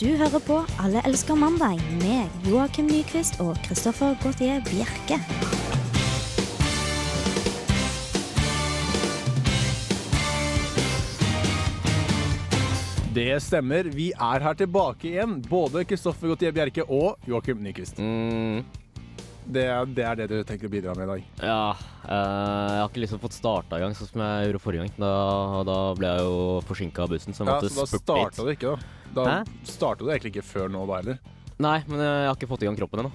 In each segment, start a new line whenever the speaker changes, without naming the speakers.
Du hører på Alle elsker mandag med Joakim Nyquist og Christoffer Gautier Bjerke.
Det stemmer. Vi er her tilbake igjen. Både Kristoffer Gautier Bjerke og Joakim Nyquist.
Mm,
Det, er- det er det du tenker å bidra med i dag.
ja. eh, jeg har ikke liksom fått starta engang, sånn som jeg gjorde forrige gang. Da, da ble jeg jo forsinka av bussen, så jeg
Ja,
måtte
så da
spurte
starta
litt.
du ikke, da. Da
Hæ?
starta du egentlig ikke før nå, da heller.
Nei, men eh, jeg har ikke fått i gang kroppen ennå.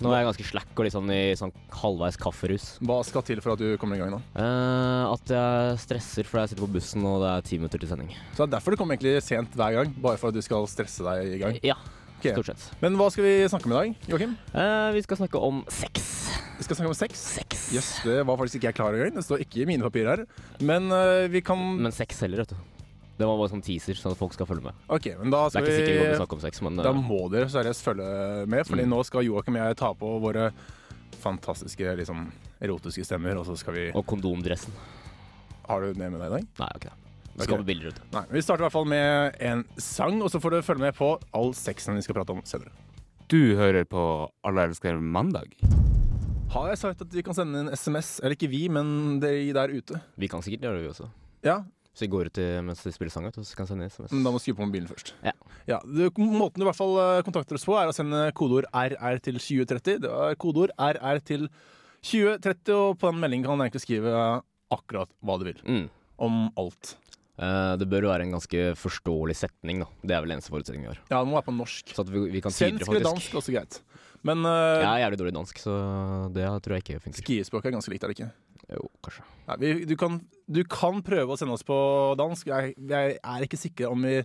Nå er jeg ganske slack og litt sånn i sånn halvveis kafferus.
Hva skal til for at du kommer i gang, da?
Eh, at jeg stresser fordi jeg sitter på bussen og det er ti minutter til sending.
Så det er derfor du kommer egentlig sent hver gang. Bare for at du skal stresse deg i gang.
Ja,
Ok.
stort sett.
Men hva skal vi snakke om i dag, Joakim?
Eh, vi skal snakke om sex.
Vi skal snakke om sex.
Sex.
Jøss, det var faktisk ikke jeg klar over engang. Det står ikke i mine papirer her. Men øh, vi kan
Men sex heller, vet du. Det var bare sånn teaser, sånn at folk skal følge med.
OK, men da
Det
skal
er ikke sikkert vi
vi
kommer til å snakke om sex, men
Da
eh,
må dere seriøst følge med, Fordi
Mm.
nå skal Joakim og jeg ta på våre fantastiske liksom, erotiske stemmer. Og så skal vi
Og kondomdressen.
Har du det med deg i dag?
Nei, jeg har ikke det.
er
Det skal
ikke
være bilder ute.
Nei. Vi starter i hvert fall med en sang, og så får du følge med på all sexen vi skal prate om senere.
Du hører på Alle elsker mandag.
Har jeg sagt at vi kan sende en SMS? Eller ikke vi, men de der ute.
Vi kan sikkert gjøre det, vi også.
Ja,
Så vi går ut til, mens de spiller sang, vet du, så kan jeg sende SMS.
men da må du skru på mobilen først.
Ja.
du, måten du i hvert fall eh, kontakter oss på, er å sende kodeord RR til 2030. Det er kodeord RR til 2030, og på den meldingen kan du egentlig skrive akkurat hva du vil.
Mm.
Om alt.
Eh, det bør jo være en ganske forståelig setning, da. Det er vel eneste forutsetningen vi har.
Ja, det må være på norsk.
Så at vi, vi kan
Svensk
tydeligere
eller
Sånn
dansk
faktisk
er også greit. Men uh,
Jeg er jævlig dårlig i dansk, så det tror jeg ikke funker.
skiespråk er ganske likt, er det ikke?
Jo, kanskje.
Nei, vi, du, kan, du kan prøve å sende oss på dansk. Jeg, jeg er ikke sikker om vi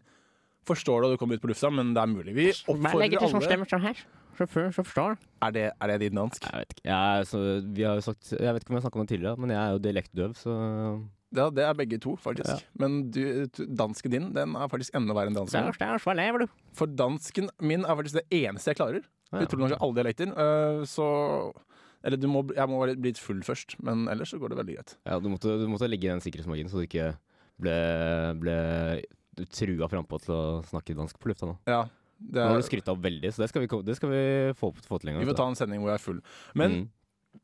forstår det og du kommer ut på lufta, men det er mulig. Vi oppfordrer alle.
stemmer sånn her. Sjåfør, så forstår
Er det, er det din dansk?
Jeg vet ikke. Jeg, er så, vi har jo sagt, jeg vet ikke om jeg har snakket om det tidligere, men jeg er jo dialektdøv, så
Ja, det er begge to, faktisk.
Ja.
Men du, du- dansken din den er faktisk enda verre enn dansken.
Hva lever du?
For dansken min er faktisk det eneste jeg klarer.
Ja.
Utrolig nok alle dialekter. øh, så Eller du må, jeg må være- bli litt full først, men ellers så går det veldig greit.
Ja, du måtte, du måtte ligge i den sikkerhetsmarginen, så du ikke ble, ble trua frampå til å snakke dansk på lufta nå.
Ja, det
Nå har
er,
du skrytt opp veldig, så det skal vi, ko- det skal vi få, få til en gang.
vi får
vet du.
ta en sending hvor jeg er full. Men
Mm.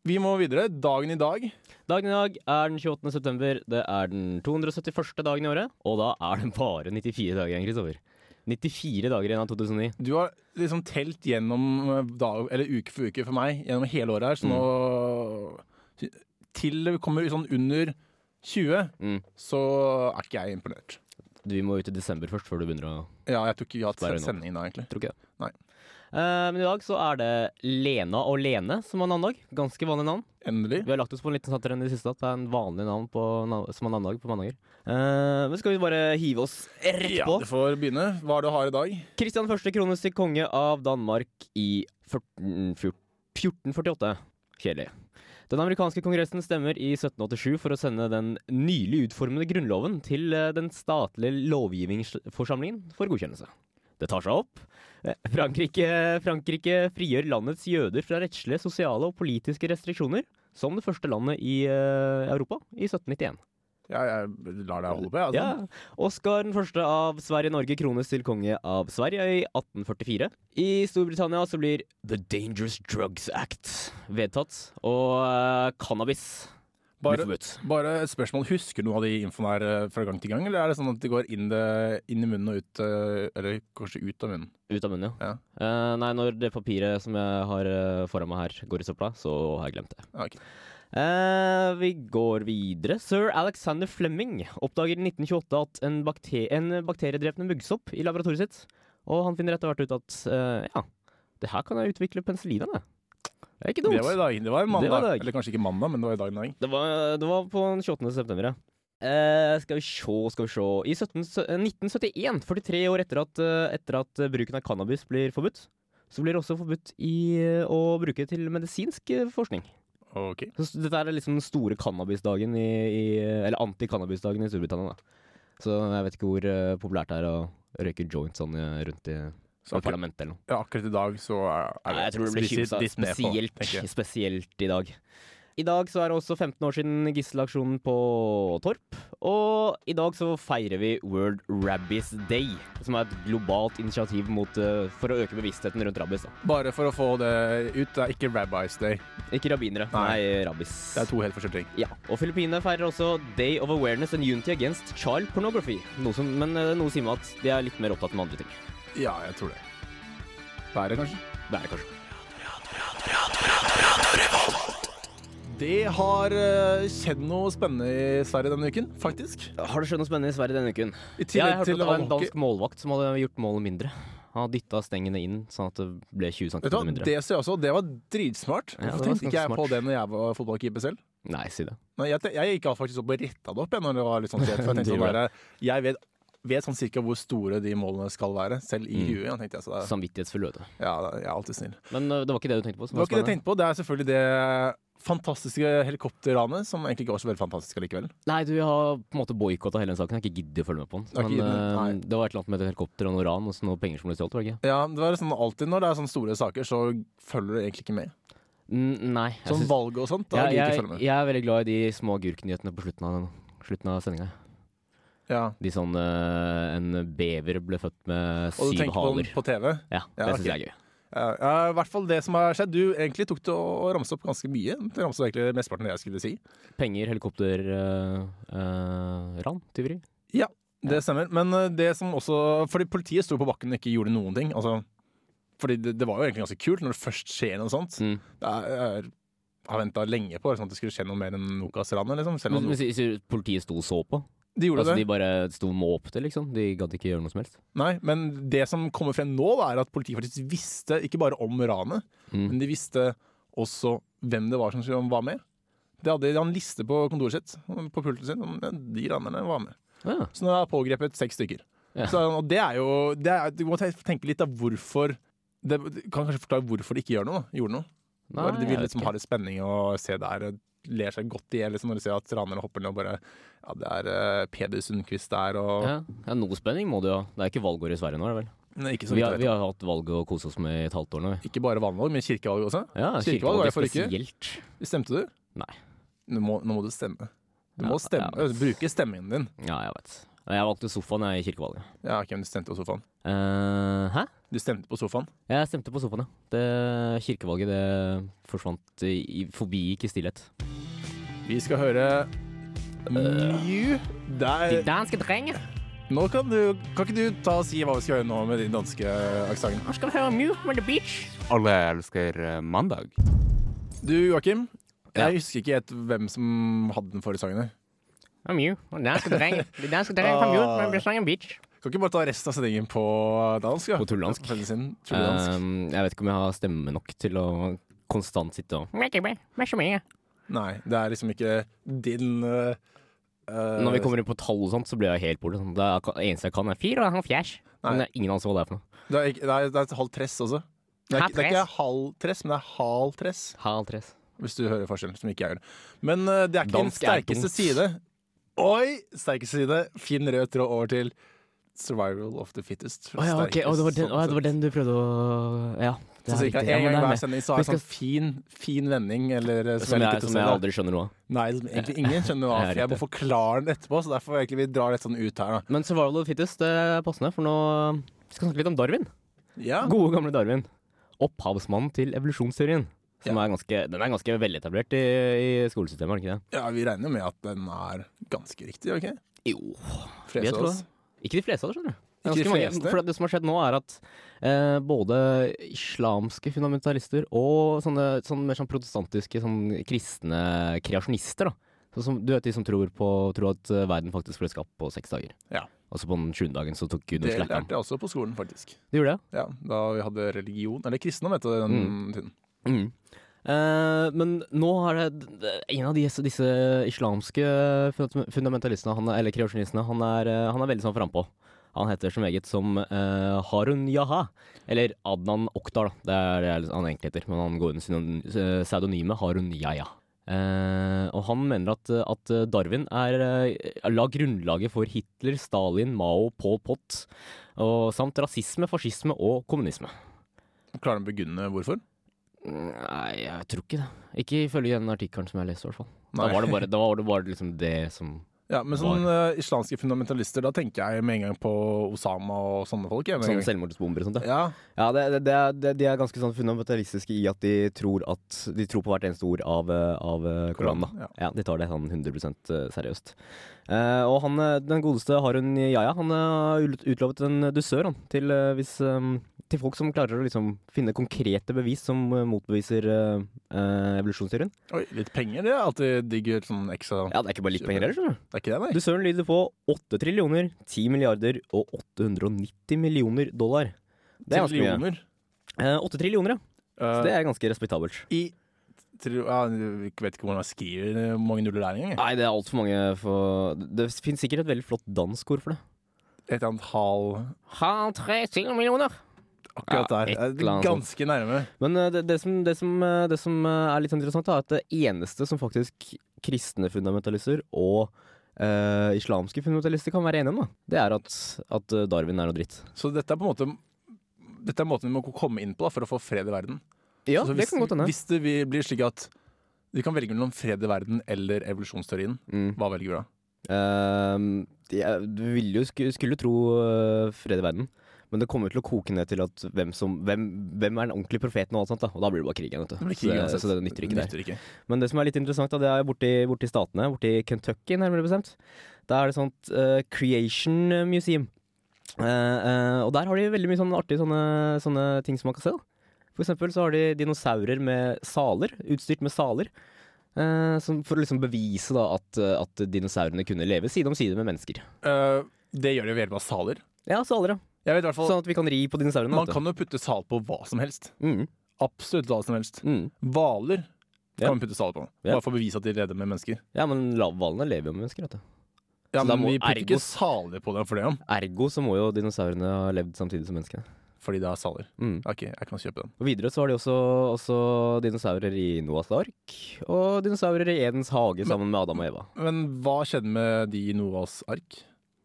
Vi må videre. Dagen i dag.
Dagen i dag er den 28. september. Det er den 271. dagen i året. Og da er det bare 94 dager igjen, Kristoffer. 94 dager igjen av 2009.
Du har liksom telt gjennom eh, dag, eller uke for uke for meg gjennom hele året her, så
Mm.
nå Til vi kommer sånn under 20,
Mm.
så er ikke jeg imponert.
Du, Vi må ut i desember først, før du begynner å
Ja, jeg tror ikke vi har
Sperre
hatt
nå.
sending da, egentlig.
Tror ikke det.
Nei.
Eh, men i dag så er det Lena og Lene som har navnedag. Ganske vanlig navn.
Endelig.
Vi har lagt oss på en liten satirend i det siste at det er en vanlig navn på, nav- som har navnedag på mandager. Eh, men skal vi bare hive oss rett
Ja,
på?
du får begynne. Hva er det du har i dag?
Kristian 1. krones til konge av Danmark i 14, 14, 1448. Kjedelig. Den amerikanske kongressen stemmer i 1787 for å sende den nylig utformede grunnloven til eh, den statlige lovgivningsforsamlingen for godkjennelse. Det tar seg opp. Eh, Frankrike, Frankrike frigjør landets jøder fra rettslige, sosiale og politiske restriksjoner, som det første landet i eh, Europa i 1791.
Ja, jeg lar deg holde på, jeg. Altså.
Ja. Oskar den første av Sverige-Norge krones til konge av Sverige i 1844. I Storbritannia så blir The Dangerous Drugs Act vedtatt, og eh, cannabis blir
Bare,
forbudt.
bare et spørsmål. Husker du noe av de infoen her eh, fra gang til gang, eller er det sånn at det går inn, det, inn i munnen og ut eh, Eller kanskje ut av munnen?
Ut av munnen, ja.
Ja.
Eh, nei, når det papiret som jeg har eh, foran meg her, går i søpla, så har jeg glemt det.
Ja, ok.
Eh, vi går videre. Sir Alexander Fleming oppdager i 1928 at en, bakte en bakteriedrepende muggsopp i laboratoriet sitt. Og han finner etter hvert ut at eh, ja, det her kan jeg utvikle penicillin av. det. Det er ikke dumt.
Det var i dag. Det var en
Det var i
mandag.
dag.
Eller kanskje ikke mandag, men det var i dag en dag.
Det var, det var på den 28. september, ja. Eh, skal vi sjå, skal vi sjå I 17, sø- eh, 1971, 43 år etter at, eh, etter at eh, bruken av cannabis blir forbudt, så blir det også forbudt i, eh, å bruke til medisinsk eh, forskning.
Ok.
Så s- dette er liksom den store cannabisdagen i, i Eller anti-cannabisdagen i Storbritannia, da. Så jeg vet ikke hvor eh, populært det er å røyke joint sånn eh, rundt i
Så
i
akkurat,
parlamentet eller noe.
ja, akkurat i dag så er er
Nei, jeg tror det blir
spesielt
kimsa
ditt ned på,
spesielt,
tenker jeg.
spesielt i dag. I I dag så er det også 15 år siden gisselaksjonen på Torp. Og i dag så feirer vi World Rabbies Day, som er et globalt initiativ mot, eh, for å øke bevisstheten rundt rabbis. Da.
Bare for å få det ut, det er ikke Rabbi's Day.
Ikke rabbinere, nei,
Nei.
rabbis.
Det er to helt forskjellige ting.
Ja, og Filippinene feirer også Day of Awareness and Unity Against Child Pornography. Noe som, men eh, noe sier meg at de er litt mer opptatt med andre ting.
Ja, jeg tror det. Været, kanskje?
Det er det kanskje.
Det har eh, skjedd noe spennende i Sverige denne uken, faktisk.
Har det skjedd noe spennende i Sverige denne uken?
I tillegg
Ja, jeg hørte at
til
det
å
var
være
en dansk målvakt som hadde gjort målet mindre. Han dytta stengene inn sånn at det ble 20
Vet du
cm
hva,
mindre.
Det ser jeg også, det var dritsmart.
Ja, det
Hvorfor
var
tenkte ikke jeg
smart.
på det når jeg var fotballkeeper selv?
Nei, si det.
Nei, jeg, te- jeg gikk faktisk opp og retta det opp jeg, når det var litt sånn sent. For jeg tenkte sånn
Du,
der, jeg vet, vet sånn cirka hvor store de målene skal være, selv i
Mm.
huet. ja, tenkte jeg, så det,
Samvittighetsfull øde.
ja, jeg er alltid snill.
Men eh, det var ikke det du tenkte på? som
Det var ikke det jeg
spennende.
tenkte på. Det er selvfølgelig det fantastiske helikopterranet, som egentlig ikke var så veldig fantastisk allikevel.
Nei, du jeg har på en måte boikotta hele den saken. Jeg har ikke giddet å følge med på den.
har ikke
Men
giddet,
eh,
nei.
det var et eller annet med et helikopter og noe ran og så noe penger som ble stjålet, var det ikke?
Ja, det var sånn alltid når det er sånne store saker, så følger du egentlig ikke med.
Mm, nei. jeg
Sånn
syns-
valget og sånt, da
Ja,
gidder du
jeg,
ikke følge med.
jeg er veldig glad i de små agurknyhetene på slutten av, slutten av sendinga.
Ja.
De sånn eh, En bever ble født med
Og du
syv
tenker på,
haler.
den på TV?
Ja, det
Ja,
synes
ok.
syns jeg er gøy.
Ja, ja, I hvert fall det som har skjedd. Du egentlig tok det å ramse opp ganske mye. Du ramset egentlig mesteparten av det jeg skulle si.
Penger, helikopter, eh, eh, ran, tyveri.
Det stemmer. Men eh, det som også Fordi politiet sto på bakken og ikke gjorde noen ting. Altså, fordi det, det var jo egentlig ganske kult når det først skjer noe sånt.
Mm.
Det er, jeg er- har venta lenge på liksom, at det skulle skje noe mer enn Nokas-ranet. Liksom. Selv
Men,
om
men si- si- politiet sto og så på?
de gjorde
Altså,
det.
de bare sto og måpte, liksom? De gadd ikke gjøre noe som helst?
Nei, men det som kommer frem nå, da, er at politiet faktisk visste ikke bare om ranet,
Mm.
men de visste også hvem det var som skulle- var med. De hadde de hadde en liste på kontoret sitt, på pulten sin, om ja, de ranerne var med.
Ah, Ja.
Så nå er det pågrepet seks stykker.
Ja.
Så, og det er jo det er, Du må te- tenke litt av hvorfor det, du Kan kanskje forklare hvorfor de ikke gjør noe, da. gjorde noe.
Nei,
Bare de
jeg
vil
vet
liksom
ikke.
ha litt spenning og se der. og Ler seg godt i hjel liksom, når de ser at ranerne hopper ned og bare Ja, det er eh, Peder Sundquist der og
ja. ja, Noe spenning må du jo ha. Det er ikke valgår i Sverige nå, er det vel?
Nei, ikke, så
Vi
vidt
har,
jeg
vi
vet.
har hatt valg å kose oss med i et halvt år nå. vi.
Ikke bare vannvalg, men kirkevalg også.
Ja,
Kirkevalg var
kirkevalg
jeg
er
forrige uke.
spesielt.
Stemte du?
Nei.
Du må, nå må du stemme. Du må
Ja,
stemme.
ja, men-
Bruke stemmen din.
Ja, jeg vet. Jeg valgte sofaen jeg, i kirkevalget.
Ja, ok, men du stemte på sofaen.
Eh, hæ?
Du stemte på sofaen.
Jeg stemte på sofaen, ja. Det kirkevalget det forsvant i, forbigikk i stillhet.
Vi skal høre Mew. Der
danske drenger!
Nå kan, du, kan ikke du ta og si hva vi skal gjøre nå med din danske aksent?
Nå skal vi høre Mew on the beach.
Alle elsker eh, mandag.
Du, Joakim.
Ja.
Jeg husker ikke helt hvem som hadde den forrige sangen. her.
Ja, Mew. Den danske drenger. Den danske
drenger fra Mew, men blir
sang beach.
Kan ikke bare ta resten av sendingen på dansk? Ja?
På tulledansk.
På sin, tulledansk.
Eh, jeg vet ikke om jeg har stemme nok til å konstant sitte og Eh.
Nei, det er liksom ikke din eh, eh,
Når vi kommer inn på tall og sånt, så blir jeg helt borte. Sånn. Det er ak- eneste jeg kan, er fire og en fjers. Men
Nei.
jeg har ingen anelse hva det er for noe.
det, er, ikke- det, er, det er et halvt tress også. Det er,
Halv
ikke- det er ikke halv tress, men det er halv tress.
Halv tres.
Hvis du hører forskjellen, som ikke jeg gjør. Men eh, det er ikke
Dansk
den
er
sterkeste
tungt.
side. Oi! Sterkeste side. Fin rød tråd over til survival of the fittest.
Å ja, ok. Å, det, var den, å, ja, det var den du prøvde å Ja.
Så
Det er
cirka
riktig. Ja,
en gang
men det er
hver
med.
sending så
Vi
har jeg
skal-
sånn fin, fin vending, eller eh, som,
Som
jeg
jeg,
liker å
som
se.
jeg
da.
aldri skjønner noe av.
Nei, som egentlig ingen skjønner noe av,
Ja,
for jeg må
riktig.
forklare den etterpå. Så derfor egentlig vi drar litt sånn ut her, da.
Men survival of the fittest det er passende, for nå vi skal snakke litt om Darwin.
Ja,
Gode, gamle Darwin. Opphavsmannen til evolusjonsteorien. Som
Ja.
er ganske, den er ganske veletablert i, i skolesystemet, er den ikke det?
ja vi regner jo med at den er ganske riktig, OK?
Jo,
Frese
tror
oss.
Ikke de fleste av det, skjønner du. Det er
Ikke de
ganske mange,
fleste?
for det som har skjedd nå, er at eh, både islamske fundamentalister og sånne, sånn mer sånn protestantiske sånn kristne kreasjonister, da. Sånn som, du vet de som tror, på, tror at eh, verden faktisk ble skapt på seks dager.
Ja.
Og så på den sjuende dagen så tok Gud og
Det
slakka
lærte
den.
jeg også på skolen, faktisk.
Du gjorde det?
Ja, Da vi hadde religion, eller kristendom, heter det den tiden.
Mm. Eh, men nå har det En av disse, disse islamske fun- fundamentalistene, han, er- eller kreasjonistene, han er, eh, han er veldig sånn frampå. Han heter så meget som eh, Harun Yaha, eller Adnan Oktar, da. det er det er han egentlig heter. Men han går under synon- eh, pseudonymet Harun Yahya. Eh, og han mener at, at Darwin er, eh, la grunnlaget for Hitler, Stalin, Mao, Pol Pot, og, samt rasisme, fascisme og kommunisme.
Klarer du å begrunne hvorfor?
Nei, jeg tror ikke det. Ikke ifølge den artikkelen som jeg leste, i hvert fall. Da
Nei.
var det bare, da var det, bare liksom det som
Ja, men sånn eh, islamske fundamentalister, da tenker jeg med en gang på Osama og sånne folk. Jeg, med en
Sånn
Sånne
gang.
selvmordsbomber og sånt. Ja,
ja,
Ja, det, det, det, er- det, De er ganske sånn fundamentalistiske i at de tror, at, de tror på hvert eneste ord av, eh, av eh, Koranen. da.
Koranen,
Ja.
ja.
De tar det sånn 100 seriøst. Eh, og han, eh, den godeste Harun Yahya han eh, har ut- utlovet en dusør han, til, eh, hvis, eh, til folk som klarer å liksom, finne konkrete bevis som eh, motbeviser eh, eh, evolusjonsteorien.
Oi, litt penger, det er alltid digger sånn ekstra
Ja, det er ikke bare litt penger heller, skjønner du.
Det er ikke det, nei?
Dusøren lyder på 8 trillioner, 10 milliarder og 890 millioner dollar. Det er ganske mye.
Trillioner.
Eh, 8 trillioner, ja. Så det
Eh,
er ganske respektabelt.
I tri ja, Jeg vet ikke hvordan jeg skriver eh, mange nuller der engang. jeg.
Nei, det er altfor mange for Det finnes sikkert et veldig flott dansk ord for det.
Et eller annet hal
Han tre millioner!
akkurat
Ja,
der.
et eller
Eh,
annet sånt.
Ganske nærme.
Men eh, det, det, som, det, som, eh, det som eh, er litt interessant, da, er at det eneste som faktisk kristne fundamentalister og eh, islamske fundamentalister kan være enige om, da, det er at, at eh, Darwin er noe dritt.
Så dette er på en måte Dette er måten vi må komme inn på da, for å få fred i verden.
Ja,
Så
det
hvis,
kan godt hende.
Hvis det vi- blir slik at vi kan velge mellom fred i verden eller evolusjonsteorien,
Mm.
hva velger vi da?
Eh, jeg- du ville jo sku, skulle tro eh, fred i verden. Men det kommer jo til å koke ned til at hvem, som, hvem, hvem er den ordentlige profeten, og alt sånt da. Og da blir det bare krig igjen. vet du.
Det blir
Så
krig
det-
uansett.
Så det nytter ikke der.
Nytter ikke.
Men det som er litt interessant, da, det er borti, borti statene, borti Kentucky nærmere bestemt. Da er det sånt eh, Creation Museum. Eh, eh, og der har de veldig mye sånne artige sånne, sånne ting som man kan se. Da. For eksempel så har de dinosaurer med saler, utstyrt med saler. eh, som for å liksom bevise da, at, eh, at dinosaurene kunne leve side om side med mennesker.
Eh, det gjør de ved hjelp av saler.
Ja, saler, ja.
Jeg vet i hvert fall,
Sånn at vi kan ri på dinosaurene.
Man
vet
kan jo putte sal på hva som helst.
du. Mm,
Absolutt hva som helst.
mm.
Hvaler
Ja.
kan vi putte sal på.
Ja.
Bare for å bevise at de redder med mennesker.
Ja, men lavhvalene lever jo med mennesker. Vet du.
Ja,
Så da
men
må
vi putter
ergo-
ikke saler på dem for det, om.
Ergo så må jo dinosaurene ha levd samtidig som menneskene.
fordi det er saler.
Mm.
Ok, jeg kan kjøpe den.
Og videre så har de også, også dinosaurer i Noas ark, og dinosaurer i Edens hage sammen med Adam og Eva.
Men hva skjedde med de i Noas ark?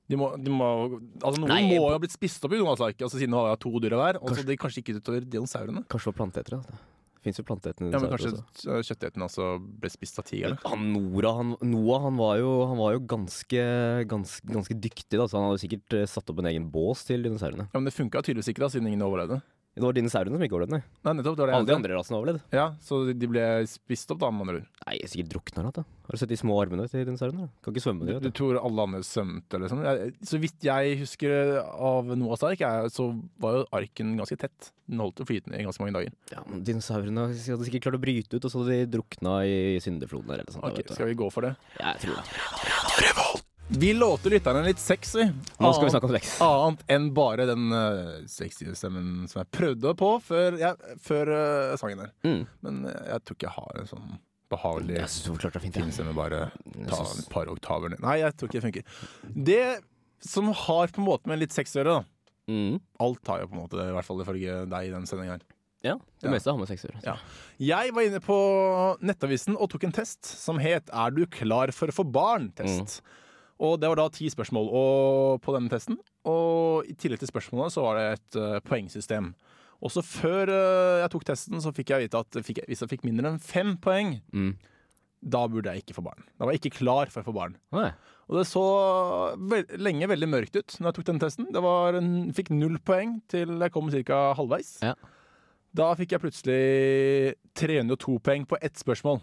De må, de må, altså noen
Nei,
må jo ha blitt spist opp i Noas ark, altså siden det var to dyr hver. Og så det kanskje ikke utover dinosaurene.
Kanskje det var planteetere. da. Fins jo planteetende
Ja, men
dinosaurer
kanskje
også.
kjøttetende også ble spist av
Men
tigeren.
han Nora, han, Noah han var jo, han var jo ganske, ganske, ganske dyktig, da, så han hadde sikkert eh, satt opp en egen bås til dinosaurene.
Ja, men det funka tydeligvis ikke, da, siden ingen overlevde.
Det var dinosaurene som ikke overlevde. nei.
Nei, nettopp, det var det jeg
Alle de
mente.
andre rasene overlevde.
Ja, Så de ble spist opp, da, med andre ord.
Nei, sikkert drukna eller noe. da. Har du sett de små armene til dinosaurene? da? Kan ikke svømme
Du,
de.
du
vet du.
tror alle andre svømte, eller sånn? Jeg- Så vidt jeg husker av Noahs ark, er, så var jo arken ganske tett. Den holdt jo flytende i ganske mange dager.
Ja, men Dinosaurene hadde sikkert klart å bryte ut, og så hadde de drukna i syndefloden eller noe sånt. da,
Ok,
vet du.
Skal vi gå for det?
Ja, jeg tror det.
Vi låter lytterne litt sexy.
Nå skal vi snakke om sex.
Annet enn bare den uh, sexy stemmen som jeg prøvde på før, jeg- før eh, sangen her.
Mm.
Men eh, jeg tror ikke jeg har en sånn behagelig
Jeg syns du forklarte deg fint. jeg.
finstemme. Bare
Jeg
ta
synes-
et par oktaver ned. Nei, jeg tror ikke det funker. Det som har på en måte med litt sex å gjøre, da.
Mm.
Alt har jo på en måte det, i hvert fall ifølge deg i den sendinga her.
Ja, det
Ja.
meste har med seks år.
Ja. Jeg var inne på Nettavisen og tok en test som het 'Er du klar for å få
Mm.
barn?'-test. Og Det var da ti spørsmål og på denne testen. Og I tillegg til spørsmålene så var det et eh, poengsystem. Også før eh, jeg tok testen, så fikk jeg vite at fikk jeg, hvis jeg fikk mindre enn fem poeng,
Mm.
da burde jeg ikke få barn. Da var jeg ikke klar for å få barn.
Nei.
Og det så vel, lenge veldig mørkt ut når jeg tok den testen. Det var en, fikk null poeng til jeg kom ca. halvveis.
Ja.
Da fikk jeg plutselig 302 poeng på ett spørsmål.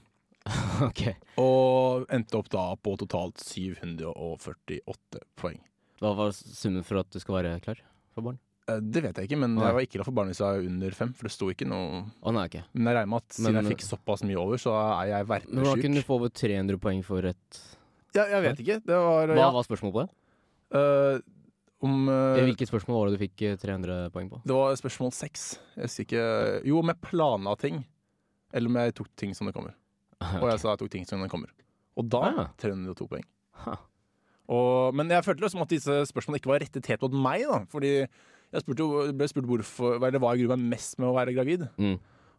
Ok.
Og endte opp da på totalt 748 poeng.
Hva var summen for at du skal være klar for barn?
Eh, Det vet jeg ikke, men
Nei.
jeg var ikke glad for barn hvis jeg var under fem. For det sto ikke noe
Å nei, ok.
Men jeg regner med at siden
Men-
jeg fikk såpass mye over, så er jeg
Men hvordan kunne du
verpesjuk.
få over 300 poeng for et
Ja, jeg vet ikke. Det var
Hva
ja.
var spørsmålet på det?
Eh, Om eh,
Hvilket spørsmål var det du fikk eh, 300 poeng på?
Det var spørsmål seks. Jeg husker ikke Jo, om jeg planla ting. Eller om jeg tok ting som det kommer. Og jeg sa jeg tok ting som det kommer. Og da
Ah.
302 poeng.
Ha.
Og, men jeg følte det som at disse spørsmålene ikke var rettet helt mot meg. da Fordi jeg spurte jo, ble spurt hvorfor, hva- eller hva jeg gruer meg mest med å være gravid.
Mm.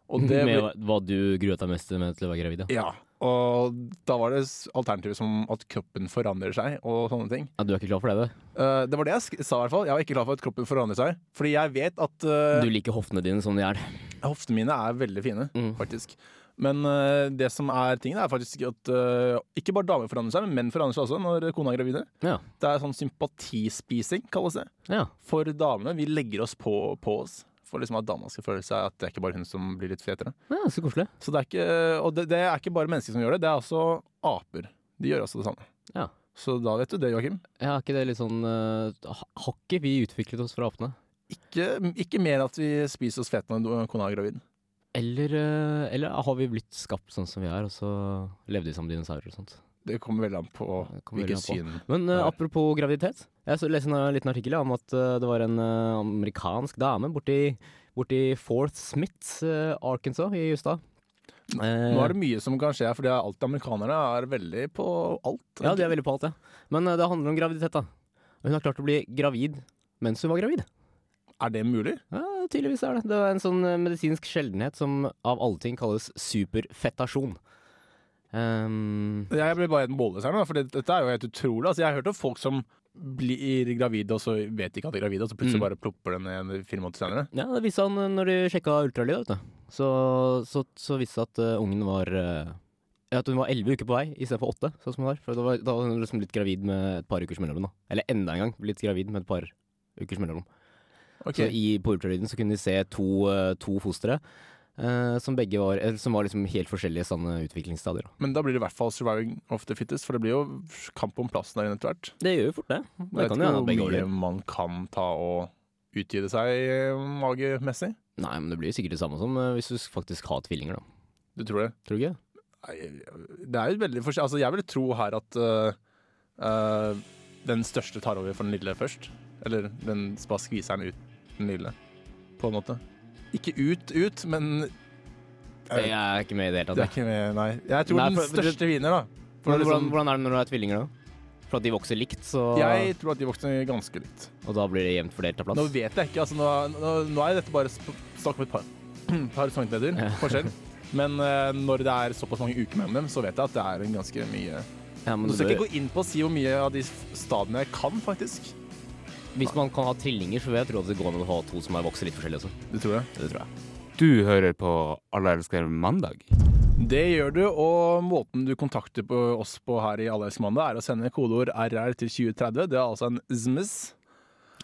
Og det
med hva- hva du gruet deg mest med til å være gravid? Ja.
ja. Og da var det s- alternativet som at kroppen forandrer seg og sånne ting.
Ja, du er ikke klar for det, du.
Eh, det var det jeg sk- sa i hvert fall. Jeg var ikke klar for at kroppen forandrer seg. Fordi jeg vet at eh,
Du liker hoftene dine sånn som de er.
Hoftene mine er veldig fine,
Mm.
faktisk. Men eh, det som er tingen, er faktisk at eh, ikke bare damer forandrer seg, men menn forandrer seg også når kona er gravide.
Ja.
Det er sånn sympatispising, kalles det.
Ja.
For damene. Vi legger oss på, på oss. For liksom at dama skal føle seg at det er ikke bare hun som blir litt fetere.
ja, så koselig.
Så det er ikke, og det, det er ikke bare mennesker som gjør det, det er også aper. De gjør også det samme.
Ja.
Så da vet du det, Joakim.
Ja, er ikke det litt sånn eh, ha- Har ikke vi utviklet oss fra apene?
Ikke, ikke mer at vi spiser oss fete når kona er gravid.
Eller, eh, eller har vi blitt skapt sånn som vi er, og så levde vi som dinosaurer og sånt?
Det kommer veldig an på
Det kommer veldig
hvilket
an
syn.
Men eh,
Ja.
apropos graviditet. Jeg så- leste en eh, liten artikkel ja, om at eh, det var en eh, amerikansk dame borti, borti Forth Smith, eh, Arkansas, i USA. Eh,
Nå er det mye som kan skje her, fordi alltid amerikanere er veldig på alt.
Ja, de er veldig på alt, ja. Men eh, det handler om graviditet, da. Hun har klart å bli gravid mens hun var gravid.
Er det mulig?
Ja, tydeligvis er det. Det er en sånn eh, medisinsk sjeldenhet som av alle ting kalles superfettasjon. Ehm,
Jeg ble bare helt målløs her nå, for det- dette er jo helt utrolig. Altså, jeg har hørt om folk som blir gravide, og så vet de ikke at de er gravide, og så plutselig
Mm.
bare plopper det ned fire måneder senere.
ja, det viste han eh, når de sjekka ultralyd, vet du. Så, så, så viste det seg at eh, ungen var eh, ja, At hun var elleve uker på vei istedenfor åtte, sånn som hun var. For da var, da var hun liksom litt gravid med et par ukers mellomrom, da. Eller enda en gang litt gravid med et par ukers mellomrom. Så
Ok,
i, på ultralyden så kunne de se to, eh, to fostre eh, som begge var eller, Som var liksom helt forskjellige sånne utviklingsstadier. da.
Men da blir det i hvert fall surviving of the fittest, for det blir jo kamp om plassen der inne etter hvert.
Det gjør jo fort det.
Jeg
Det
vet
kan
ikke
jo hende
hvor
at begge
mye
overlever.
man kan ta og utvide seg eh, magemessig.
Nei, men det blir jo sikkert det samme som eh, hvis du faktisk har tvillinger, da.
Du tror det?
Tror du ikke?
Nei, Det er jo veldig forskjellig. Altså, jeg vil tro her at eh, eh, den største tar over for den lille først. Eller den bare skviser den ut den lille, på en måte. Ikke ut, ut, men
Jeg er ikke med i det
det
hele
er
tatt. jeg.
ikke med, Nei. Jeg tror
Nei,
den
for-
største vinner, da. For
Men
det er
hvordan,
liksom,
hvordan er det når du er tvillinger, da? For at de vokser likt, så
jeg tror at de voksne er ganske likt.
Og da blir det jevnt fordelt av plass?
Nå vet jeg ikke. Altså, nå, nå, nå er dette bare sp- snakk om et par, par centimeter forskjell. Men eh, når det er såpass mange uker mellom dem, så vet jeg at det er en ganske mye
ja, men
Du
det
skal
bør,
ikke gå inn på å si hvor mye av de stadiene jeg kan, faktisk.
Hvis man kan ha trillinger, så vil jeg tro at det går an å ha to som er vokser litt forskjellig også.
Det tror jeg.
Det tror jeg.
Du hører på Alle elsker mandag.
Det gjør du, og måten du kontakter på oss på her i Allergiksmandag, er å sende kodeord RR til 2030. Det er altså en SMS.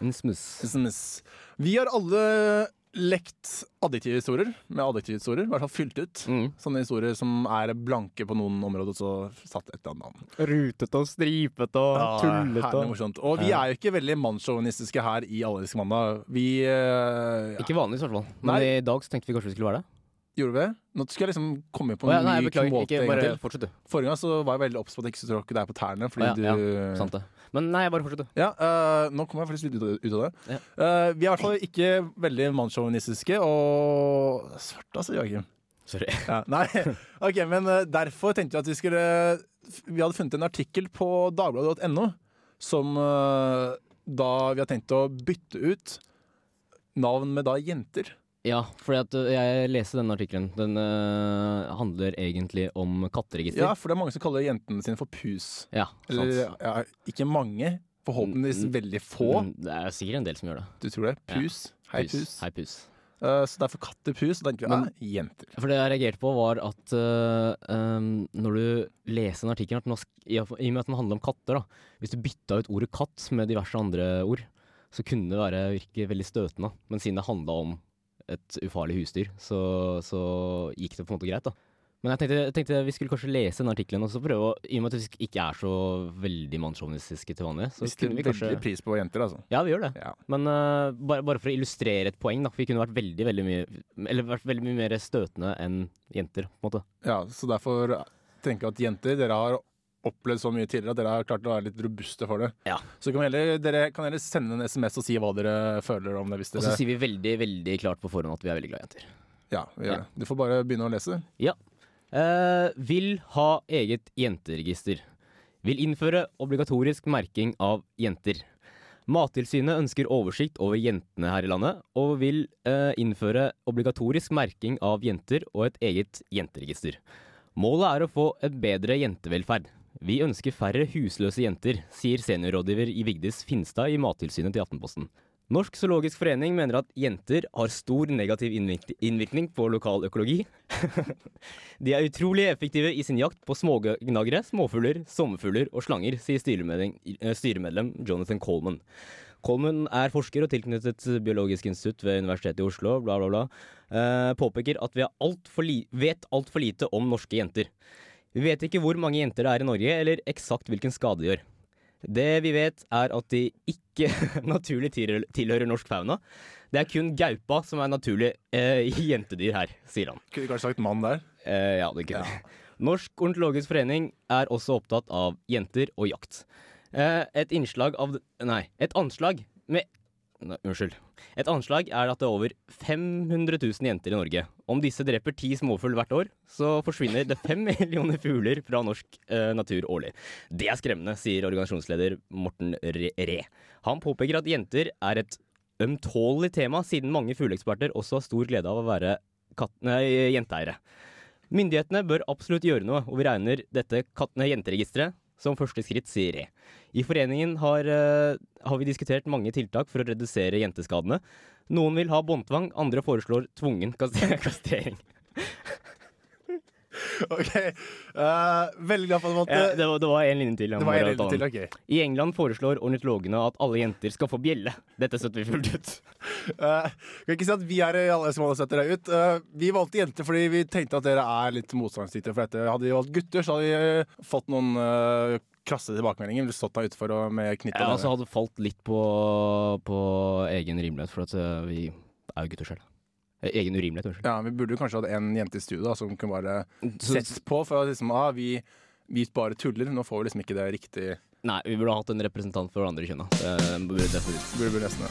En smuss.
SMS. Vi har alle lekt adjektive historier med adjektive historier, i hvert fall fylt ut.
Mm.
Sånne historier som er blanke på noen områder, og så satt et eller annet navn.
Rutete og stripete og
herlig morsomt. Og vi er jo ikke veldig mannssjåvinistiske her i Allergiksmandag. Vi eh,
Ikke vanligvis, i hvert fall. Men
Nei.
i dag så tenkte vi kanskje vi skulle være det.
Gjorde vi det? Nå skulle jeg liksom komme på
Å
en
ja, nei, jeg
myk
beklager.
måte
Ikke
en gang
bare
til.
fortsett, du.
Forrige gang så var jeg veldig obs på at jeg ikke skulle tråkke deg på tærne. Fordi
Å ja,
du...
Sant det. Men nei, bare fortsett, du.
Ja, eh, nå kommer jeg faktisk litt ut av, ut av det.
Ja.
Eh, vi er i hvert fall ikke veldig mannssjåvinistiske og svarte, altså, Joakim.
Sorry.
Ja, nei, ok, men eh, derfor tenkte vi at vi skulle Vi hadde funnet en artikkel på dagbladet.no som eh, da vi har tenkt å bytte ut navn med da jenter.
Ja, fordi at ø, jeg leste denne artikkelen. Den ø, handler egentlig om katteregister.
Ja, for det er mange som kaller jentene sine for pus.
Ja,
Eller
sant.
ja, ikke Mm, mange, forhåpentligvis veldig få.
Men Det er sikkert en del som gjør det.
Du tror det? Pus. Hei, pus.
Hei, pus.
Eh, så derfor kattepus. Og tenker vi
Men-
ja, jenter.
For det jeg reagerte på, var at ø, ø, når du leser en artikkel, at den har sk- i i og med at den handler om katter, da, hvis du bytta ut ordet katt med diverse andre ord, så kunne det være, virke veldig støtende. Men siden det handla om et ufarlig husdyr, så, så gikk det på en måte greit, da. Men jeg tenkte, jeg tenkte vi skulle kanskje lese den artikkelen og så prøve å I og med at vi ikke er så veldig mannssjåvinistiske til vanlig, så
Vi setter
kunne vi
veldig
kanskje
pris på jenter, altså.
Ja, vi gjør det.
Ja.
Men eh, bare, bare for å illustrere et poeng, da. For vi kunne vært veldig, veldig mye Eller vært veldig mye mer støtende enn jenter, på en måte.
ja, Så derfor eh, tenker jeg at jenter, dere har opplevd så mye tidligere at dere har klart å være litt robuste for det.
Ja.
Så kan vi heller, dere kan heller sende en SMS og si hva dere føler om det. hvis
Og så
dere...
sier vi veldig, veldig klart på forhånd at vi er veldig glad i jenter.
Ja, vi gjør det. Du får bare begynne å lese.
Eh, vil ha eget jenteregister. Vil innføre obligatorisk merking av jenter. Mattilsynet ønsker oversikt over jentene her i landet, og vil eh, innføre obligatorisk merking av jenter og et eget jenteregister. Målet er å få et bedre jentevelferd. Vi ønsker færre husløse jenter, sier seniorrådgiver i Vigdis Finstad i Mattilsynet til Aftenposten. Norsk zoologisk forening mener at jenter har stor negativ innvirk- innvirkning på lokal økologi. De er utrolig effektive i sin jakt på smågnagere, småfugler, sommerfugler og slanger, sier styremedlem, eh, styremedlem Jonathan Coleman. Coleman er forsker og tilknyttet Biologisk institutt ved Universitetet i Oslo, bla, bla, bla. Eh, påpeker at vi er alt for li vet altfor lite om norske jenter. Vi vet ikke hvor mange jenter det er i Norge, eller eksakt hvilken skade de gjør. Det vi vet, er at de ikke naturlig tilhører tilhører norsk fauna. Det er kun gaupa som er naturlig eh, jentedyr her, sier han.
Kunne kanskje sagt mann der.
Eh, ja, det kunne jeg. Norsk ornitologisk forening er også opptatt av jenter og jakt. Eh, et innslag av Nei, et anslag med Nei, Unnskyld. Et anslag er at det er over 500 000 jenter i Norge. Om disse dreper ti småfugl hvert år, så forsvinner det fem millioner fugler fra norsk eh, natur årlig. Det er skremmende, sier organisasjonsleder Morten Re. Re. Han påpeker at jenter er et ømtålig tema, siden mange fugleeksperter også har stor glede av å være katt, nei, jenteeiere. Myndighetene bør absolutt gjøre noe, og vi regner dette katt- nei, jenteregisteret som første skritt, sier Re. I foreningen har, eh, har vi diskutert mange tiltak for å redusere jenteskadene. Noen vil ha båndtvang, andre foreslår tvungen kas- kastrering.
Ok, eh, Veldig glad for at du
Ja,
måtte
Eh, det, var, det var en linje til.
Det
jeg må
var en
bare ta
lille til.
den.
ok
I England foreslår ornitologene at alle jenter skal få bjelle. Dette støtter vi fullt ut.
Eh, kan ikke si at vi er i alle som alle setter deg ut. Eh, vi valgte jenter fordi vi tenkte at dere er litt motstandsdyktige for dette. Hadde vi valgt gutter, så hadde vi eh, fått noen eh, krasse tilbakemeldinger. Ville stått der utenfor og med knytt
Jeg
og
altså
nevene.
hadde falt litt på, på egen rimelighet, for at eh, vi er jo gutter selv. Eh, Egen urimelighet, unnskyld.
ja, Vi burde jo kanskje hatt en jente i studio da, som kunne bare
Så-
sett på. For at liksom, ah, vi, vi bare tuller. Nå får vi liksom ikke det riktig
Nei, vi burde ha hatt en representant for det andre kjønna. Det burde definitivt.
burde bli neste.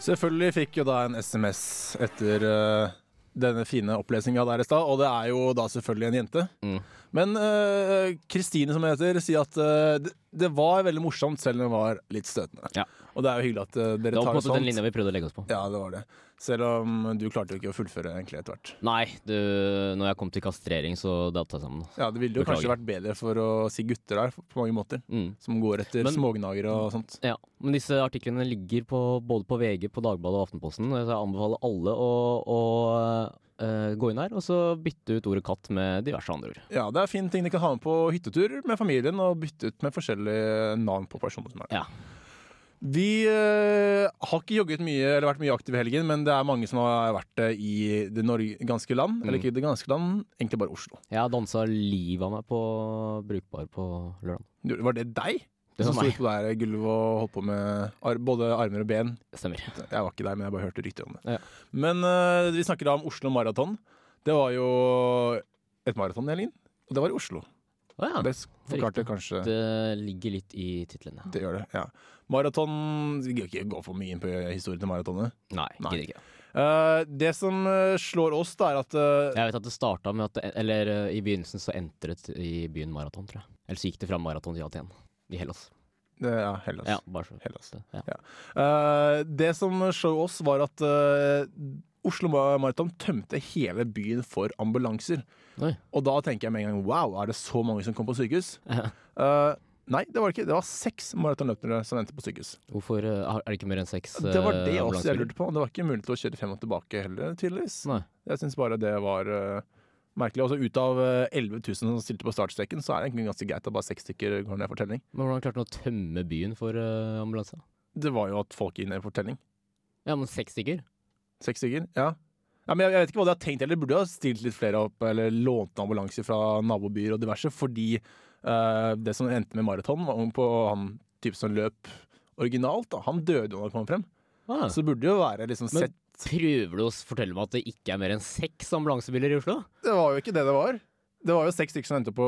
Selvfølgelig fikk jo da en SMS etter eh, denne fine opplesningen vi hadde her i stad, og det er jo da selvfølgelig en jente.
Mm.
Men eh, Kristine, som hun heter, sier at eh, det, det var veldig morsomt, selv om det var litt støtende.
Ja.
Og det er jo hyggelig at eh,
Det
dere
var på en
tar
måte den
sånt.
linja vi prøvde å legge oss på.
Ja, det var det. Selv om du klarte jo ikke å fullføre egentlig etter hvert.
Nei, du, når jeg kom til kastrering, så datt jeg sammen.
Ja, Det ville jo kanskje
Beklager.
vært bedre for å si gutter der, på mange måter.
Mm.
Som går etter
Men-
smågnagere og sånt.
Ja, Men disse artiklene ligger på, både på VG, på Dagbladet og Aftenposten. og Jeg anbefaler alle å, å eh, gå inn her og så bytte ut ordet katt med diverse andre ord.
Ja, Det er fin ting de kan ha med på hyttetur med familien, og bytte ut med forskjellige navn på personer som er der.
Ja.
Vi eh, har ikke jogget mye eller vært mye aktive i helgen, men det er mange som har vært det i det nor- ganske land. Eller
Mm.
ikke det ganske land, egentlig bare Oslo.
Jeg dansa livet av meg på Brukbar på lørdag.
Du- Var det deg?
Det
som
var
sto
meg.
på der eh, gulvet og holdt på med ar både armer og ben.
Stemmer.
Jeg var ikke der, men jeg bare hørte rykter om det.
Ja.
Men eh, vi snakker da om Oslo Maraton. Det var jo et maraton i helgen, og det var i Oslo.
Å ja.
Det forklarte kanskje
Det ligger litt i titlene.
Det gjør det, ja. Maraton Vi gidder ikke gå for mye inn på historien til maratonet.
Nei,
Nei.
gidder ikke.
Eh, det som eh, slår oss, da, er at eh,
Jeg vet at det starta med at det, Eller eh, i begynnelsen så entret i byen maraton, tror jeg. Eller så gikk det fra maraton til Aten. I Hellas.
det Ja, Hellas.
Ja, bare så.
Hellas.
Ja.
Eh, det som slår oss, var at eh, Oslo Maraton tømte hele byen for ambulanser.
Oi.
Og da tenker jeg med en gang wow, er det så mange som kom på sykehus?
Ja.
Eh, nei, det var det ikke. Det var seks maratonløpere som endte på sykehus.
Hvorfor eh, har- er det ikke mer enn seks
Det var det
eh,
også jeg
ambulansebiler?
lurte på. Det var ikke mulig til å kjøre frem og tilbake heller, tydeligvis.
Nei.
Jeg syns bare det var eh, merkelig. Altså Ut av eh, 11 000 som stilte på startstreken, så er det egentlig ganske greit at bare seks stykker går ned for telling.
Men hvordan klarte han å tømme byen for eh, ambulanse?
Det var jo at folk gikk ned for telling.
Ja, men seks stykker?
Seks stykker, ja. ja men jeg, jeg vet ikke hva de har tenkt heller. Burde jo ha stilt litt flere opp, eller lånt ambulanser fra nabobyer og diverse, fordi eh, det som endte med maraton, var om på han typen som løp originalt, da. han døde jo da han kom frem.
Ah.
Så det burde jo være liksom
Men-
sett
Prøver du å s- fortelle meg at det ikke er mer enn seks ambulansebiler i Oslo?
Det var jo ikke det det var. Det var jo seks stykker som endte på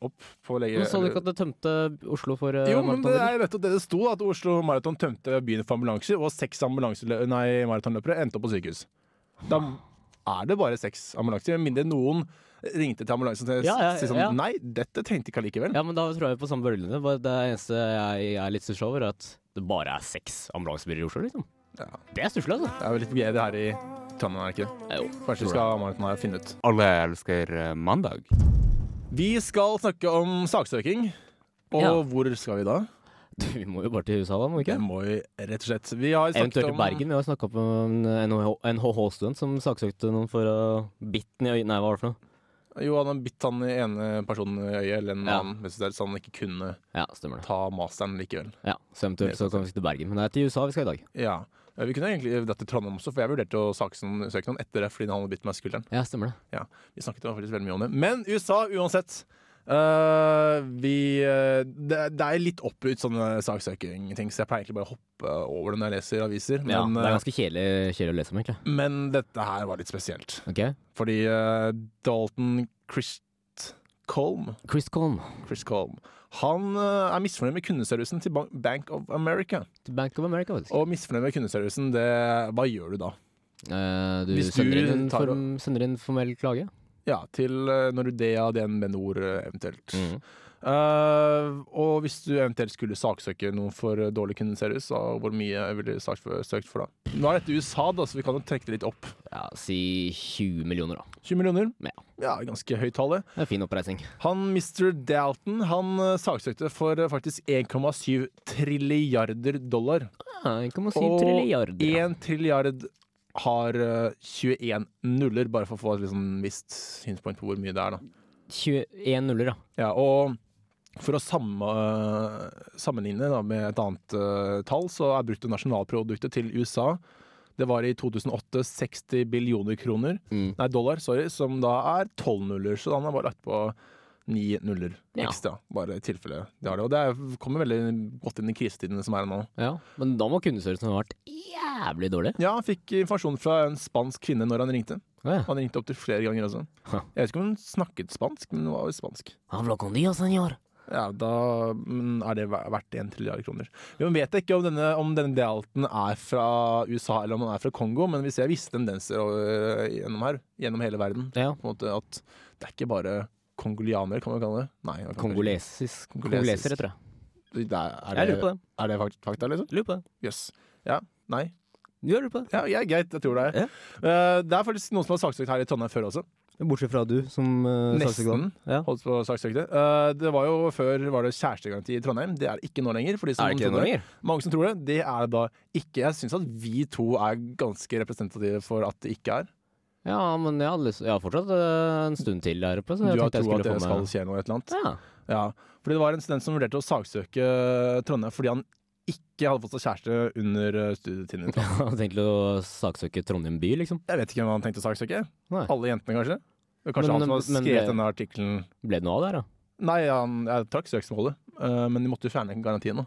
opp på lege...
Men Sa du ikke at det tømte Oslo for eh,
Jo, men det
maratonbiler?
er nettopp det det sto, at Oslo Maraton tømte byen for ambulanser, og seks ambulanselø- nei, maratonløpere endte opp på sykehus. Da er det bare seks ambulanser, med mindre noen ringte til ambulansen og
Ja, ja,
sa sånn
ja.
Nei, dette trengte ikke allikevel.
Ja, men da tror jeg vi er på samme bølgelengde. Bare Det eneste jeg er litt stussa over, er at det bare er seks ambulansebiler i Oslo, liksom. Det er stusslig, altså.
Det er vel litt GD her i Drammen, er det ikke?
Jo,
Kanskje vi skal Martin og jeg finne ut.
Alle elsker eh, mandag.
Vi skal snakke om saksøking. Og
Ja.
hvor skal vi da?
Du, Vi må jo eh, bare til USA, da, må vi
Det
ikke?
må vi rett og slett Vi har snakket
Eventuelt
om
til Bergen. Vi har snakka om en NHH-student som saksøkte noen for å bitt den i øynene. Nei, hva var det for noe?
Jo, han har bitt han i ene personen i øyet, eller en
Ja.
annen, mens det er så han ikke kunne
Ja, stemmer det.
ta masteren likevel.
Ja, Så eventuelt så kan vi til Bergen. Men det er til USA vi skal i dag.
Ja. Vi kunne egentlig dratt til Trondheim også, for jeg vurderte å saksøke noen etter det fordi han hadde bitt meg i skulderen.
Ja, stemmer det.
Vi snakket jo faktisk veldig mye om det. Men USA, uansett. eh, vi, eh, det, det er litt opp ut sånne saksøking-ting, så jeg pleier egentlig bare å hoppe over det når jeg leser aviser.
Ja,
Men,
det er
eh,
ganske kjedelig, kjedelig å lese om, egentlig.
men dette her var litt spesielt.
Ok?
Fordi eh, Dalton Christcolm
Chris Colm
Chris Colm han eh, er misfornøyd med kundeservicen til Ban- Bank of America.
til Bank of America, faktisk.
Og misfornøyd med kundeservicen, det, hva gjør du da?
Eh, du,
Hvis du
sender, inn en
tar
form, sender inn formell klage.
Ja, til eh, Nordea, DNB Nor eh, eventuelt.
Mm.
Eh, og hvis du eventuelt skulle saksøke noen for eh, dårlig kundeservice, så hvor mye ville du saksøkt for da? Nå er dette USA, da, så vi kan jo trekke det litt opp.
Ja, si 20 millioner, da.
20 millioner?
Ja.
Ja, ganske høyt tall, det.
Det er en fin oppreisning.
Han Mr. Dalton han eh, saksøkte for eh, faktisk 1,7 trilliarder dollar.
Ja, 1,7
Og
trilliarder. ja.
1 trilliard har eh, 21 nuller, bare for å få et liksom, visst synspunkt på hvor mye det er, da.
21 nuller, da.
Ja, og for å samme, sammenligne da, med et annet eh, tall, så er bruttonasjonalproduktet til USA det var i 2008 60 billioner kroner,
Mm.
nei dollar, sorry, som da er 12 nuller. Så han har bare lagt på ni nuller
Ja.
ekstra, bare i tilfelle de har det. Og det er- kommer veldig godt inn i krisetidene som er nå.
Ja, Men da må kundeservicen ha vært jævlig dårlig.
Ja, han fikk informasjon fra en spansk kvinne når han ringte.
Ja.
Han ringte opptil flere ganger også.
Ha.
Jeg vet ikke om hun snakket spansk, men hun var jo spansk.
Habla con Dios, señor.
Ja, da men er det ver- verdt en trilliard kroner. Vi vet ikke om denne, om denne Dalton er fra USA eller om han er fra Kongo, men vi ser visse tendenser øh, gjennom her, gjennom hele verden.
Ja.
På en måte at det er ikke bare kongolianer, kan man kalle det. Nei, man kan
Kongolesisk.
Kongolesisk.
Kongoleser, tror jeg.
ikke- Det er, er,
Jeg lurer
det,
på det.
er det fakt- fakta, liksom?
Lurer på det.
Jøss. Yes. Ja. Nei.
Du lurer på det.
Ja, ja, greit, jeg tror det. er. Eh, det er faktisk noen som har saksøkt her i Trondheim før også.
Bortsett fra du, som
eh,
uh,
Nesten.
Ja.
Holdt på å saksøke det. Eh, det var jo før var det kjærestegaranti i Trondheim. Det er det ikke nå lenger. For de som
Er det ikke det
trodde
nå lenger?
Mange som tror det. Det er det da ikke. Jeg syns at vi to er ganske representative for at det ikke er.
Ja, men jeg har, lyst, jeg har fortsatt øh, en stund til der oppe.
Du
Så jeg
har
tenkte
troa at
jeg skulle
det
få
skal
med
skje noe, et eller annet.
ja.
Ja. Fordi det var en student som vurderte å saksøke Trondheim fordi han ikke hadde fått seg kjæreste under eh, studietiden.
Jeg hadde tenkt å saksøke Trondheim by, liksom.
Jeg vet ikke hvem han tenkte å saksøke.
Nei.
Alle jentene, kanskje? Det er Kanskje
Men-
han som har
men-
skrevet denne artikkelen
Ble det noe av det her, da?
Nei, han, jeg trakk søksmålet, eh, men de måtte jo fjerne garantien. da.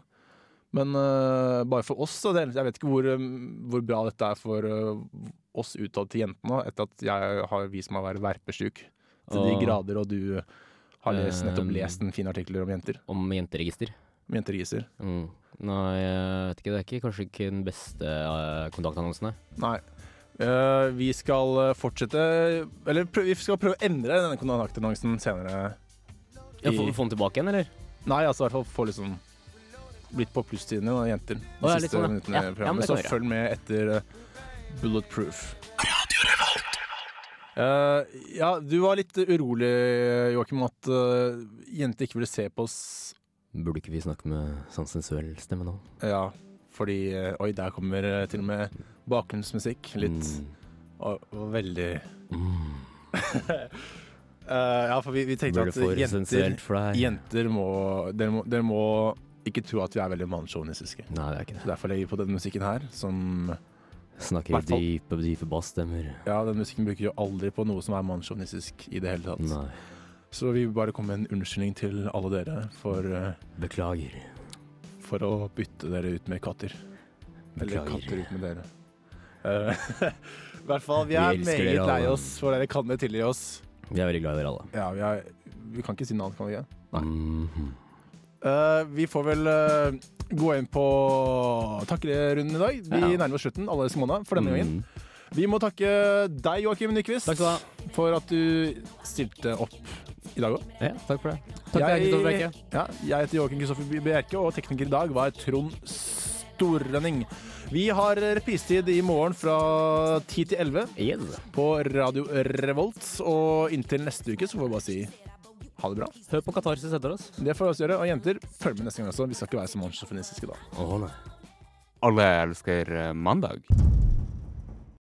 Men eh, bare for oss, så det, jeg vet ikke hvor, eh, hvor bra dette er for eh, oss utad til jentene, da, etter at jeg har vist meg å være verpesjuk til
Åh.
de grader, og du har lest, nettopp
Eh,
lest en fin artikkel om jenter.
Om jenteregister.
Om jenter riser.
Mm. Nei, jeg vet ikke. Det er ikke, kanskje ikke den beste øh, kontaktannonsen, nei.
Nei. Eh, vi skal eh, fortsette Eller prøv, vi skal prøve å endre denne kontaktannonsen senere.
Ja,
I-
få, få den tilbake igjen, eller?
Nei, altså i hvert fall få liksom blitt på plusstidene og jenter de
Å, ja, litt
siste
sånn, ja.
minuttene
Ja,
i
ja,
programmet.
men det
så
kan vi gjøre.
følg med etter eh, Bulletproof. Eh, ja, du var litt urolig, Joakim, at eh, jenter ikke ville se på oss.
Burde ikke vi snakke med sånn sensuell stemme nå?
Ja, fordi eh, Oi, der kommer eh, til og med bakgrunnsmusikk. Litt
Mm.
og, og veldig Eh, Ja, for vi, vi tenkte
Blir det
at
for
jenter,
sensuelt for deg?
jenter må, dere må Dere må ikke tro at vi er veldig mannssjåvinistiske.
Nei, det er ikke det.
Så Derfor legger vi på denne musikken her, som
Snakker
Hvertfall-
dype, dype bassstemmer.
Ja, den musikken bruker jo aldri på noe som er mannssjåvinistisk i det hele tatt.
Nei,
Så vi vil bare komme med en unnskyldning til alle dere for, eh,
beklager.
for å bytte dere ut med katter. Eller
Beklager.
katter ut med dere. Eh, I hvert fall, vi
Vi
er
elsker
meget
dere
lei
alle.
oss for dere kan det tilgi oss.
Vi er veldig glad i dere alle.
Ja, vi, er, vi kan ikke si noe annet, kan vi ikke? Nei.
Mhm.
Eh, vi får vel eh, gå inn på takkerunden i dag. Vi
Ja.
nærmer oss slutten allerede måned for denne gangen.
Mhm.
Vi må takke deg, Joakim Nyquist,
Takk skal
for at du stilte opp i dag òg.
Ja, takk for det. Takk til deg, Kristoffer Brekke.
ja, jeg heter Joakim Kristoffer Bjerke, og tekniker i dag var Trond Storrenning. Vi har reprisetid i morgen fra 10 til 11
Yes.
på Radio Revolt. Og inntil neste uke så får vi bare si ha det bra.
Hør på Katarsis etter oss.
Det får vi også gjøre. Og jenter, følg med neste gang også. Vi skal ikke være så mannssjåfinistiske da.
Alle elsker eh, mandag.